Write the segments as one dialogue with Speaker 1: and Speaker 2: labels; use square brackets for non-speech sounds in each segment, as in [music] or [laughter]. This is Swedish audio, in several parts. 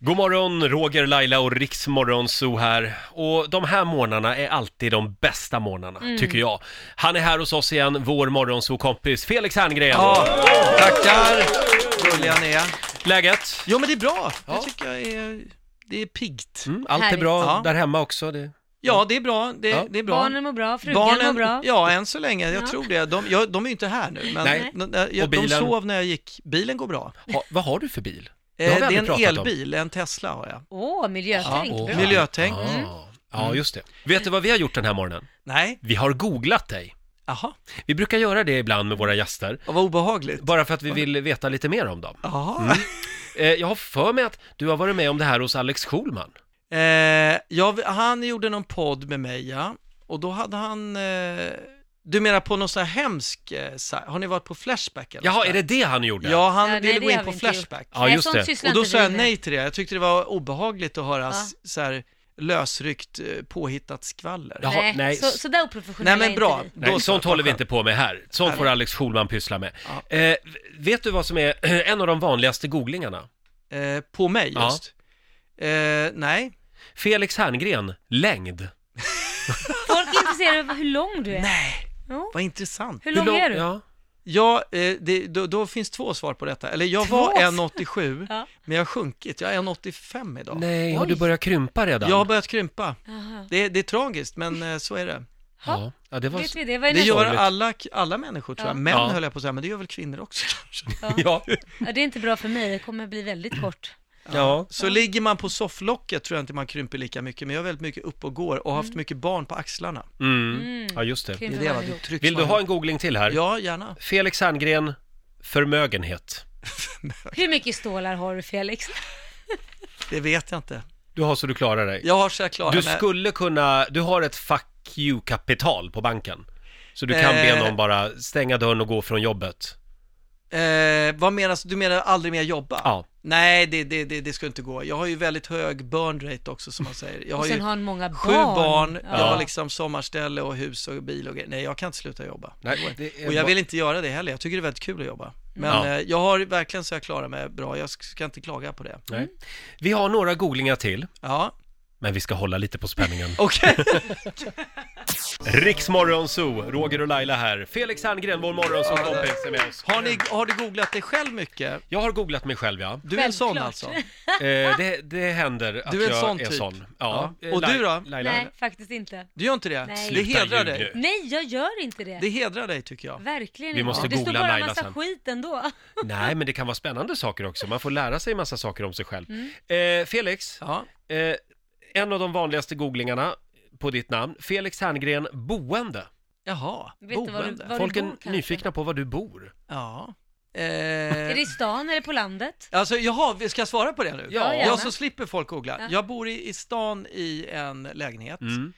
Speaker 1: God morgon, Roger, Laila och Riksmorgonzoo här. Och de här morgnarna är alltid de bästa morgnarna, tycker jag. Han är här hos oss igen, vår morgonzoo-kompis Felix Herngren.
Speaker 2: Ja, tackar! Gulliga ni är.
Speaker 1: Läget?
Speaker 2: Jo men det är bra, det tycker jag är, det är piggt.
Speaker 1: Mm, allt är
Speaker 3: Härligt.
Speaker 1: bra
Speaker 2: Ja.
Speaker 1: där hemma också. Det...
Speaker 2: Ja, det är bra, det,
Speaker 1: Ja.
Speaker 2: det är bra.
Speaker 3: Barnen mår bra, frugan mår bra.
Speaker 2: ja än så länge, jag
Speaker 3: Ja.
Speaker 2: tror det. De, jag, de är ju inte här nu, men
Speaker 1: Nej.
Speaker 2: de, jag,
Speaker 1: Och
Speaker 2: de
Speaker 1: bilen?
Speaker 2: sov när jag gick. Bilen går bra.
Speaker 1: Ha, vad har du för bil?
Speaker 2: Eh,
Speaker 1: har vi
Speaker 2: det
Speaker 1: aldrig
Speaker 2: är en
Speaker 1: pratat om.
Speaker 2: elbil, en Tesla har jag.
Speaker 3: Åh, miljötänk.
Speaker 1: Åh.
Speaker 3: bra.
Speaker 2: Miljötänk. Mm.
Speaker 1: Ja. Ja, just det. Vet du vad vi har gjort den här morgonen?
Speaker 2: Nej,
Speaker 1: Vi har googlat dig.
Speaker 2: jaha,
Speaker 1: Vi brukar göra det ibland med våra gäster,
Speaker 2: vad obehagligt.
Speaker 1: bara för att vi vill veta lite mer om dem.
Speaker 2: Jaha.
Speaker 1: Eh, jag har för mig att du har varit med om det här hos Alex Schulman.
Speaker 2: Eh, jag, han gjorde någon podd med mig, ja. Och då hade han... Eh, du menar på någon sån här hemsk... Eh, sa- har ni varit på Flashback eller
Speaker 1: Jaha,
Speaker 2: sånt
Speaker 1: är
Speaker 2: där?
Speaker 1: det det han gjorde?
Speaker 2: Ja, han
Speaker 3: Ja, nej,
Speaker 2: ville
Speaker 3: det
Speaker 2: gå
Speaker 3: har
Speaker 2: in
Speaker 3: vi
Speaker 2: på
Speaker 3: inte gjort.
Speaker 2: Flashback.
Speaker 1: Ja, just
Speaker 3: sånt
Speaker 1: det.
Speaker 3: sysslar
Speaker 2: Och då
Speaker 3: inte
Speaker 2: sa
Speaker 3: vi
Speaker 2: jag
Speaker 3: med.
Speaker 2: nej till det. Jag tyckte det var obehagligt att höra
Speaker 3: Ja.
Speaker 2: s- så här lösryckt eh, påhittat skvaller.
Speaker 1: Jaha,
Speaker 3: nej.
Speaker 1: nej.
Speaker 3: Så, så där
Speaker 2: Nej
Speaker 3: oprofessionella
Speaker 2: men
Speaker 3: är
Speaker 2: bra.
Speaker 3: inte vi.
Speaker 1: Nej,
Speaker 2: Då så.
Speaker 1: sånt håller vi inte på med här. Sånt får Alex Schulman pyssla med. Eh, vet du vad som är [clears throat] en av de vanligaste googlingarna?
Speaker 2: Eh, på mig
Speaker 1: Ja.
Speaker 2: just. Eh, nej.
Speaker 1: Felix Herngren, längd.
Speaker 3: Folk är intresserade av hur lång du är.
Speaker 2: Nej,
Speaker 3: Jo.
Speaker 2: vad intressant.
Speaker 3: Hur, lång
Speaker 1: Hur lång-
Speaker 3: är du?
Speaker 1: Ja.
Speaker 2: Ja, eh, det, då, då finns två svar på detta. Eller jag var
Speaker 3: Två?
Speaker 2: 1,87
Speaker 3: Ja.
Speaker 2: men jag har sjunkit. Jag är 1,85 idag.
Speaker 1: Nej, har
Speaker 3: Oj.
Speaker 1: du börjat krympa redan?
Speaker 2: Jag har börjat krympa.
Speaker 3: Jaha.
Speaker 2: Det, det är tragiskt, men eh, så är det.
Speaker 1: ja. ja, det var...
Speaker 3: Vet vi det? Vad är
Speaker 2: Det
Speaker 3: nästa?
Speaker 2: gör
Speaker 1: sorgligt.
Speaker 2: alla, alla människor tror jag.
Speaker 3: Ja.
Speaker 2: Män
Speaker 1: Ja.
Speaker 2: höll jag på att säga, men det gör väl kvinnor också kanske.
Speaker 1: [laughs] Ja.
Speaker 3: Ja, det är inte bra för mig, det kommer bli
Speaker 2: Mm.
Speaker 3: väldigt kort.
Speaker 1: ja.
Speaker 2: Så ligger man på sofflocket tror jag inte man krymper lika mycket, men jag är väldigt mycket upp och går och har
Speaker 3: Mm.
Speaker 2: haft mycket barn på axlarna.
Speaker 1: Mm. ja, just det.
Speaker 2: Det är
Speaker 3: Krymper
Speaker 2: det, va?
Speaker 3: man
Speaker 2: det
Speaker 3: ihop.
Speaker 2: trycks
Speaker 1: Vill du
Speaker 2: man
Speaker 1: ha en googling till här?
Speaker 2: Ja, gärna.
Speaker 1: Felix Herngren, förmögenhet.
Speaker 3: Hur mycket stålar har du Felix?
Speaker 2: Det vet jag inte.
Speaker 1: Du har så du klarar dig.
Speaker 2: Jag har så jag klarar
Speaker 1: Du
Speaker 2: mig.
Speaker 1: skulle kunna, du har ett fuck you-kapital på banken. Så du kan be
Speaker 2: Eh.
Speaker 1: någon bara stänga dörren och gå från jobbet.
Speaker 2: Eh, vad menas, du menar aldrig mer jobba?
Speaker 1: Ja.
Speaker 2: Nej, det, det, det, det skulle inte gå. Jag har ju väldigt hög burn rate också som man säger. Jag har
Speaker 3: Och
Speaker 2: ju
Speaker 3: sen har han många barn.
Speaker 2: sju barn,
Speaker 3: Ja.
Speaker 2: jag har liksom sommarställe och hus och bil och grejer. Nej, jag kan inte sluta jobba.
Speaker 1: Nej, det är
Speaker 2: Och jag
Speaker 1: bra.
Speaker 2: vill inte göra det heller. Jag tycker det är väldigt kul att jobba. Men
Speaker 1: Ja.
Speaker 2: eh, jag har verkligen så jag klarar mig bra. Jag ska inte klaga på det.
Speaker 1: Nej. Vi har några googlingar till,
Speaker 2: Ja,
Speaker 1: men vi ska hålla lite på spänningen.
Speaker 2: okej.
Speaker 1: Riksmorgon Zoo, Roger och Laila här. Felix Herngren, vår morgonzoo-kompis, är med oss.
Speaker 2: Har, ni,
Speaker 3: Mm.
Speaker 2: har du googlat dig själv mycket?
Speaker 1: Jag har googlat mig själv,
Speaker 2: [laughs]
Speaker 1: ja.
Speaker 2: Du är en sån
Speaker 3: Självklart.
Speaker 2: alltså?
Speaker 1: Eh, det, det händer att
Speaker 2: Du är en
Speaker 1: jag
Speaker 2: sån
Speaker 1: är
Speaker 2: typ.
Speaker 1: sån. Ja.
Speaker 2: Ja.
Speaker 1: Eh,
Speaker 2: Och
Speaker 1: Lai-
Speaker 2: du då?
Speaker 1: Laila?
Speaker 3: Nej, faktiskt inte.
Speaker 2: Du gör inte det?
Speaker 3: Nej.
Speaker 2: Det
Speaker 1: Sluta
Speaker 2: hedrar
Speaker 1: ljug
Speaker 2: dig.
Speaker 1: nu.
Speaker 3: Nej, jag gör inte det.
Speaker 2: Det hedrar dig tycker jag.
Speaker 3: Verkligen
Speaker 1: Vi
Speaker 3: inte.
Speaker 1: måste
Speaker 3: det står
Speaker 1: googla
Speaker 3: bara
Speaker 1: Laila
Speaker 3: massa
Speaker 1: sen.
Speaker 3: skit ändå.
Speaker 2: Eh.
Speaker 1: Nej, men det kan vara spännande saker också. Man får lära sig massa saker om sig själv. Eh, Felix,
Speaker 2: Ja.
Speaker 1: eh, en av de vanligaste googlingarna på ditt namn, Felix Herngren, boende.
Speaker 2: Jaha,
Speaker 3: Vet du vad du-
Speaker 2: boende.
Speaker 3: vad- Var du
Speaker 1: Folk är
Speaker 3: bor, kanske?
Speaker 1: nyfikna på var du bor.
Speaker 2: Ja.
Speaker 3: Är det
Speaker 2: Eh,
Speaker 3: i stan eller på landet?
Speaker 2: alltså, jaha, vi ska jag svara på det nu?
Speaker 1: Ja,
Speaker 3: gärna.
Speaker 2: Ja, så slipper folk googla.
Speaker 3: Ja.
Speaker 2: Jag bor i, i stan i en lägenhet
Speaker 1: Mm.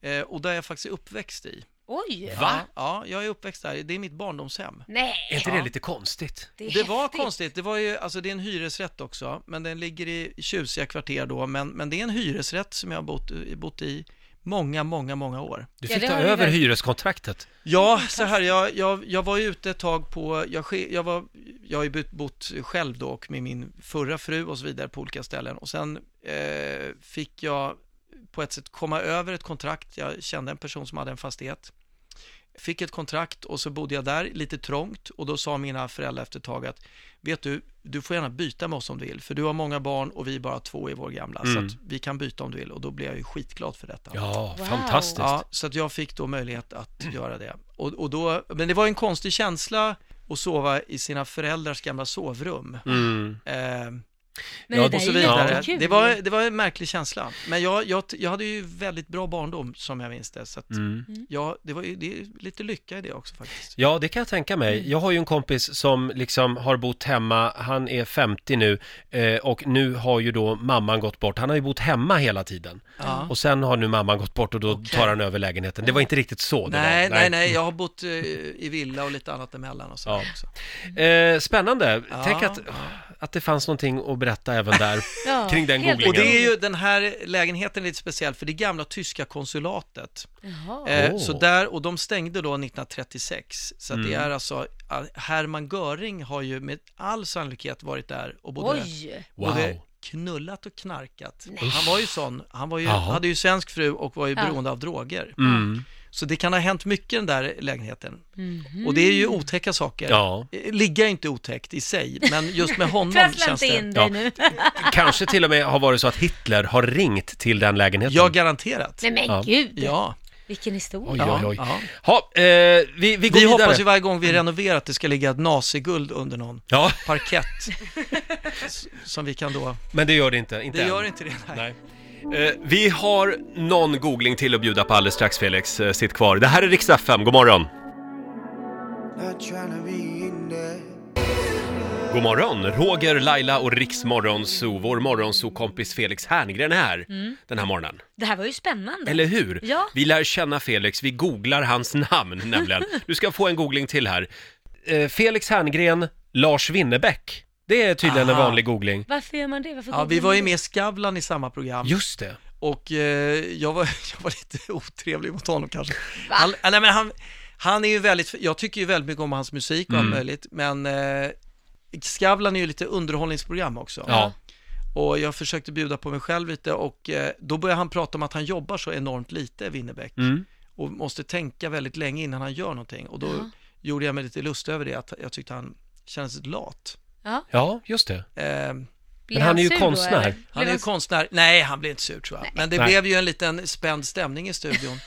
Speaker 2: eh, och där jag faktiskt är uppväxt i.
Speaker 3: Oj!
Speaker 1: Va?
Speaker 2: Ja, ja, jag är uppväxt där. Det är mitt barndomshem.
Speaker 1: Är
Speaker 3: Nej!
Speaker 1: inte det
Speaker 2: Ja.
Speaker 1: lite konstigt?
Speaker 3: är
Speaker 2: Det var
Speaker 3: häftigt.
Speaker 2: konstigt, det var ju, alltså det är en hyresrätt också, men den ligger i tjusiga kvarter då, men, men det är en hyresrätt som jag har bott, bott i många, många, många år.
Speaker 1: Du
Speaker 3: Ja,
Speaker 1: fick
Speaker 3: det
Speaker 1: ta
Speaker 3: har vi
Speaker 1: över
Speaker 3: väl-
Speaker 1: hyreskontraktet.
Speaker 2: Ja, så här, jag, jag, jag var ju ute ett tag på, jag, ske- jag, var, jag har ju bott- bott själv då och med min förra fru och så vidare på olika ställen och sen eh, fick jag på ett sätt komma över ett kontrakt, jag kände en person som hade en fastighet, fick ett kontrakt och så bodde jag där lite trångt och då sa mina föräldrar efter ett tag att vet du, du får gärna byta med oss om du vill för du har många barn och vi är bara två i vår gamla
Speaker 1: Mm.
Speaker 2: så att vi kan byta om du vill och då blev jag ju skitglad för detta.
Speaker 1: Ja,
Speaker 3: Wow.
Speaker 1: fantastiskt.
Speaker 2: Ja, så att jag fick då möjlighet att [clears throat] göra det. Och, och då, men det var en konstig känsla att sova i sina föräldrars gamla sovrum.
Speaker 1: Mm.
Speaker 2: Eh,
Speaker 3: Men
Speaker 1: Ja,
Speaker 3: det där
Speaker 2: och så
Speaker 3: är ju
Speaker 1: vidare.
Speaker 2: vidare.
Speaker 3: jättekul.
Speaker 2: Det var, det var en märklig känsla. Men jag, jag, jag hade ju väldigt bra barndom som jag minns det. Så att
Speaker 1: Mm.
Speaker 2: jag, det var ju det är lite lycka i det också faktiskt.
Speaker 1: Ja, det kan jag tänka
Speaker 2: Mm.
Speaker 1: mig. Jag har ju en kompis som liksom har bott hemma, han är 50 nu eh, och nu har ju då mamman gått bort. Han har ju bott hemma hela tiden
Speaker 2: Ja.
Speaker 1: och sen har nu mamman gått bort och då
Speaker 2: Okej.
Speaker 1: tar han över lägenheten. Det var inte riktigt så det
Speaker 2: Nej,
Speaker 1: var.
Speaker 2: nej, nej, jag har bott eh, i villa och lite annat emellan och så
Speaker 1: Ja.
Speaker 2: också.
Speaker 1: Eh, spännande.
Speaker 2: Ja.
Speaker 1: Tänk att, att det fanns någonting att berätta även
Speaker 2: [laughs]
Speaker 1: där.
Speaker 3: Ja,
Speaker 1: kring den
Speaker 3: helt
Speaker 1: googlingen.
Speaker 2: Och det är
Speaker 3: otroligt.
Speaker 2: ju, den här lägenheten är lite speciell för det är gamla tyska konsulatet.
Speaker 3: Jaha.
Speaker 2: Eh,
Speaker 1: Åh.
Speaker 2: Så där, och de stängde då 1936. Så att det
Speaker 1: Mm.
Speaker 2: är alltså, Hermann Göring har ju med all sannolikhet varit där och både,
Speaker 3: Oj!
Speaker 1: Wow.
Speaker 2: både knullat och knarkat.
Speaker 3: Nej.
Speaker 2: Han var ju sån, han var ju,
Speaker 1: Jaha.
Speaker 2: hade ju svensk fru och var ju
Speaker 3: Ja.
Speaker 2: beroende av droger.
Speaker 1: Mm.
Speaker 2: Så det kan ha hänt mycket i den där lägenheten.
Speaker 3: Mhm.
Speaker 2: Och det är ju otäcka saker. Eh,
Speaker 1: Ja,
Speaker 2: Ligga är inte otäckt i sig, men just
Speaker 3: [laughs]
Speaker 2: med honom
Speaker 3: Trassla
Speaker 2: känns
Speaker 3: inte
Speaker 2: det...
Speaker 3: in
Speaker 1: Ja.
Speaker 3: dig
Speaker 2: [laughs]
Speaker 3: nu.
Speaker 1: kanske till och med har varit så att Hitler har ringt till den lägenheten.
Speaker 2: Ja, garanterat.
Speaker 3: Nej men
Speaker 1: Ja.
Speaker 3: gud,
Speaker 2: Ja,
Speaker 3: vilken historia.
Speaker 1: Oj,
Speaker 2: ja,
Speaker 1: oj, oj.
Speaker 2: ja.
Speaker 1: Ha, eh, vi, vi går
Speaker 2: Vi
Speaker 1: vidare.
Speaker 2: hoppas ju varje gång vi renoverar att det ska ligga ett naziguld under någon
Speaker 1: Ja,
Speaker 2: parkett. [laughs] S- som vi kan då...
Speaker 1: men det gör det inte. inte
Speaker 2: Det
Speaker 1: än.
Speaker 2: gör inte det. Nej.
Speaker 1: Nej. Eh, vi har någon googling till att bjuda på alldeles strax, Felix. Eh, sitt kvar. Det här är Rix FM. God morgon.
Speaker 4: Not tryna be in there.
Speaker 1: God morgon! Roger, Laila och Rix Morgonzoo. Vår morgonzoo-kompis Felix Herngren är här
Speaker 2: Mm.
Speaker 1: den här morgonen.
Speaker 3: Det här var ju spännande.
Speaker 1: Eller hur?
Speaker 3: Ja.
Speaker 1: Vi lär känna Felix, vi googlar hans
Speaker 2: [laughs]
Speaker 1: namn nämligen. Du ska få en googling till här. Eh, Felix Herngren, Lars Winnerbäck. Det är tydligen en
Speaker 2: Aha.
Speaker 1: vanlig googling.
Speaker 3: Varför gör man det? Varför
Speaker 2: Ja, vi var ju med i Skavlan i samma program.
Speaker 1: Just det.
Speaker 2: Och eh, jag, var, [laughs] jag var lite otrevlig mot honom kanske. Han, nej, men han, han är ju väldigt, jag tycker ju väldigt mycket om hans musik och allt
Speaker 1: Mm.
Speaker 2: möjligt, men eh, Skavlan är ju lite underhållningsprogram också.
Speaker 1: Ja.
Speaker 2: Och jag försökte bjuda på mig själv lite och eh, då började han prata om att han jobbar så enormt lite, Winnerbäck,
Speaker 1: Mm.
Speaker 2: och måste tänka väldigt länge innan han gör någonting. Och då
Speaker 3: Ja.
Speaker 2: gjorde jag mig lite lust över det, att jag tyckte han kändes lat.
Speaker 1: Ja, just det.
Speaker 2: Eh,
Speaker 3: Blir
Speaker 1: Men han är ju
Speaker 3: sur
Speaker 1: konstnär.
Speaker 3: eller?
Speaker 2: han
Speaker 3: Blev
Speaker 2: är ju konstnär, nej han blev inte sur tror jag, men det
Speaker 1: Nej.
Speaker 2: blev ju en liten spänd stämning i studion.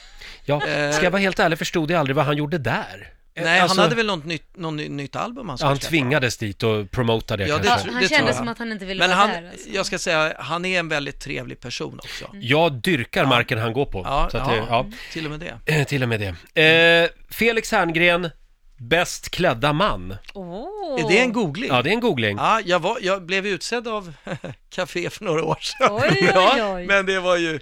Speaker 1: Ja.
Speaker 2: Eh.
Speaker 1: Ska jag vara helt ärlig förstod jag aldrig vad han gjorde där. Eh,
Speaker 2: Nej,
Speaker 1: alltså,
Speaker 2: han hade väl något nytt, något ny- nytt album han skulle
Speaker 1: Han
Speaker 2: släppa.
Speaker 1: tvingades dit och promotade det
Speaker 2: Ja,
Speaker 1: kanske.
Speaker 2: det
Speaker 3: Ja,
Speaker 2: tror-
Speaker 3: han
Speaker 2: det tror
Speaker 3: kände
Speaker 2: jag.
Speaker 3: som att han inte ville
Speaker 2: Men
Speaker 3: vara
Speaker 2: han,
Speaker 3: där. Alltså. Mm.
Speaker 2: jag ska säga, han är en väldigt trevlig person också.
Speaker 1: Jag dyrkar marken han går på.
Speaker 2: Ja,
Speaker 1: så att Det,
Speaker 2: ja,
Speaker 1: ja.
Speaker 2: till och med
Speaker 3: Mm.
Speaker 2: det.
Speaker 1: Eh, Till och med det. Eh, Felix Herngren, bäst klädda man.
Speaker 3: Åh.
Speaker 2: Är det en googling?
Speaker 1: Ja,
Speaker 2: Ja,
Speaker 1: det är en googling.
Speaker 2: jag, var, jag blev utsedd av [laughs] Café för några år sedan.
Speaker 3: Oj, oj, oj.
Speaker 2: [laughs] Ja, men det var ju...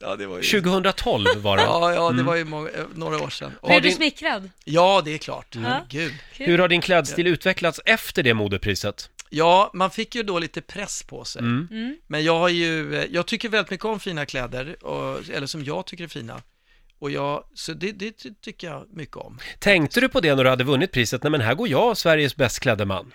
Speaker 2: Ja, det var ju...
Speaker 1: 2012 var det.
Speaker 2: Ja, ja, det var ju många, eh, några år sedan. Och,
Speaker 3: Blev du
Speaker 1: din-
Speaker 2: [laughs]
Speaker 3: smickrad?
Speaker 2: ja, det är klart.
Speaker 3: Ja.
Speaker 2: Gud.
Speaker 1: Hur har din klädstil utvecklats efter det modepriset?
Speaker 2: Ja, man fick ju då lite press på sig.
Speaker 1: Mm.
Speaker 3: Mm.
Speaker 2: Men jag har ju, eh, jag tycker väldigt mycket om fina kläder, och, eller som jag tycker är fina. Och jag, så det, det ty- tycker jag mycket
Speaker 3: [laughs]
Speaker 2: om.
Speaker 1: Tänkte du på det när du hade vunnit priset? Nej men här går jag, Sveriges bäst klädde man.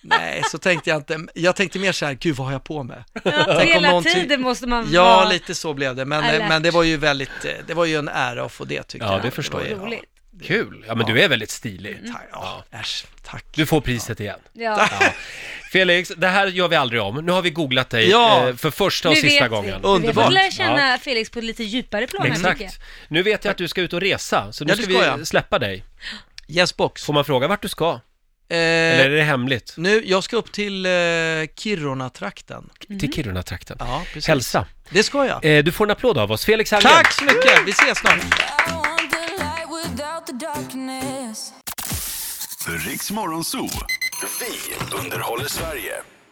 Speaker 2: Nej, så tänkte jag inte. Jag tänkte mer så här, gud vad har jag på med?
Speaker 3: Ja,
Speaker 2: om
Speaker 3: hela
Speaker 2: någonting-
Speaker 3: tiden måste man
Speaker 2: Ja,
Speaker 3: vara
Speaker 2: lite så blev det. Men, eh,
Speaker 3: alert.
Speaker 2: men det var ju väldigt, eh, det var ju en ära att få det tycker
Speaker 1: Ja,
Speaker 2: jag.
Speaker 1: det förstår
Speaker 2: var ju-
Speaker 3: roligt.
Speaker 1: Kul! Ja men du är väldigt stilig.
Speaker 2: Ja, tack, Mm. ja, äsch, tack.
Speaker 1: Du får priset igen.
Speaker 3: Ja.
Speaker 1: Felix, det här gör vi aldrig om. Nu har vi googlat dig
Speaker 2: Ja.
Speaker 1: eh, för första och
Speaker 3: Nu
Speaker 1: sista
Speaker 3: vet vi.
Speaker 1: gången.
Speaker 3: Nu vet vi.
Speaker 2: Underbart.
Speaker 3: Vi lär känna Felix på ett lite djupare plan här, tycker jag.
Speaker 1: Exakt. Nu vet jag att du ska ut och resa, så nu
Speaker 2: Ja, det
Speaker 1: ska
Speaker 2: ska
Speaker 1: vi
Speaker 2: jag.
Speaker 1: släppa dig.
Speaker 2: Yes box.
Speaker 1: Får man fråga vart du ska?
Speaker 2: Eh,
Speaker 1: Eller är det hemligt?
Speaker 2: Nu, jag ska upp till eh, Kiruna-trakten.
Speaker 1: Till Kiruna-trakten.
Speaker 2: Ja, precis.
Speaker 1: Hälsa.
Speaker 2: Det ska jag.
Speaker 1: Eh, du får en applåd av oss. Felix Herngren.
Speaker 2: Tack så mycket, vi ses snart.
Speaker 5: I want the light without the darkness.
Speaker 6: Riks Morgonzoo. Vi underhåller Sverige.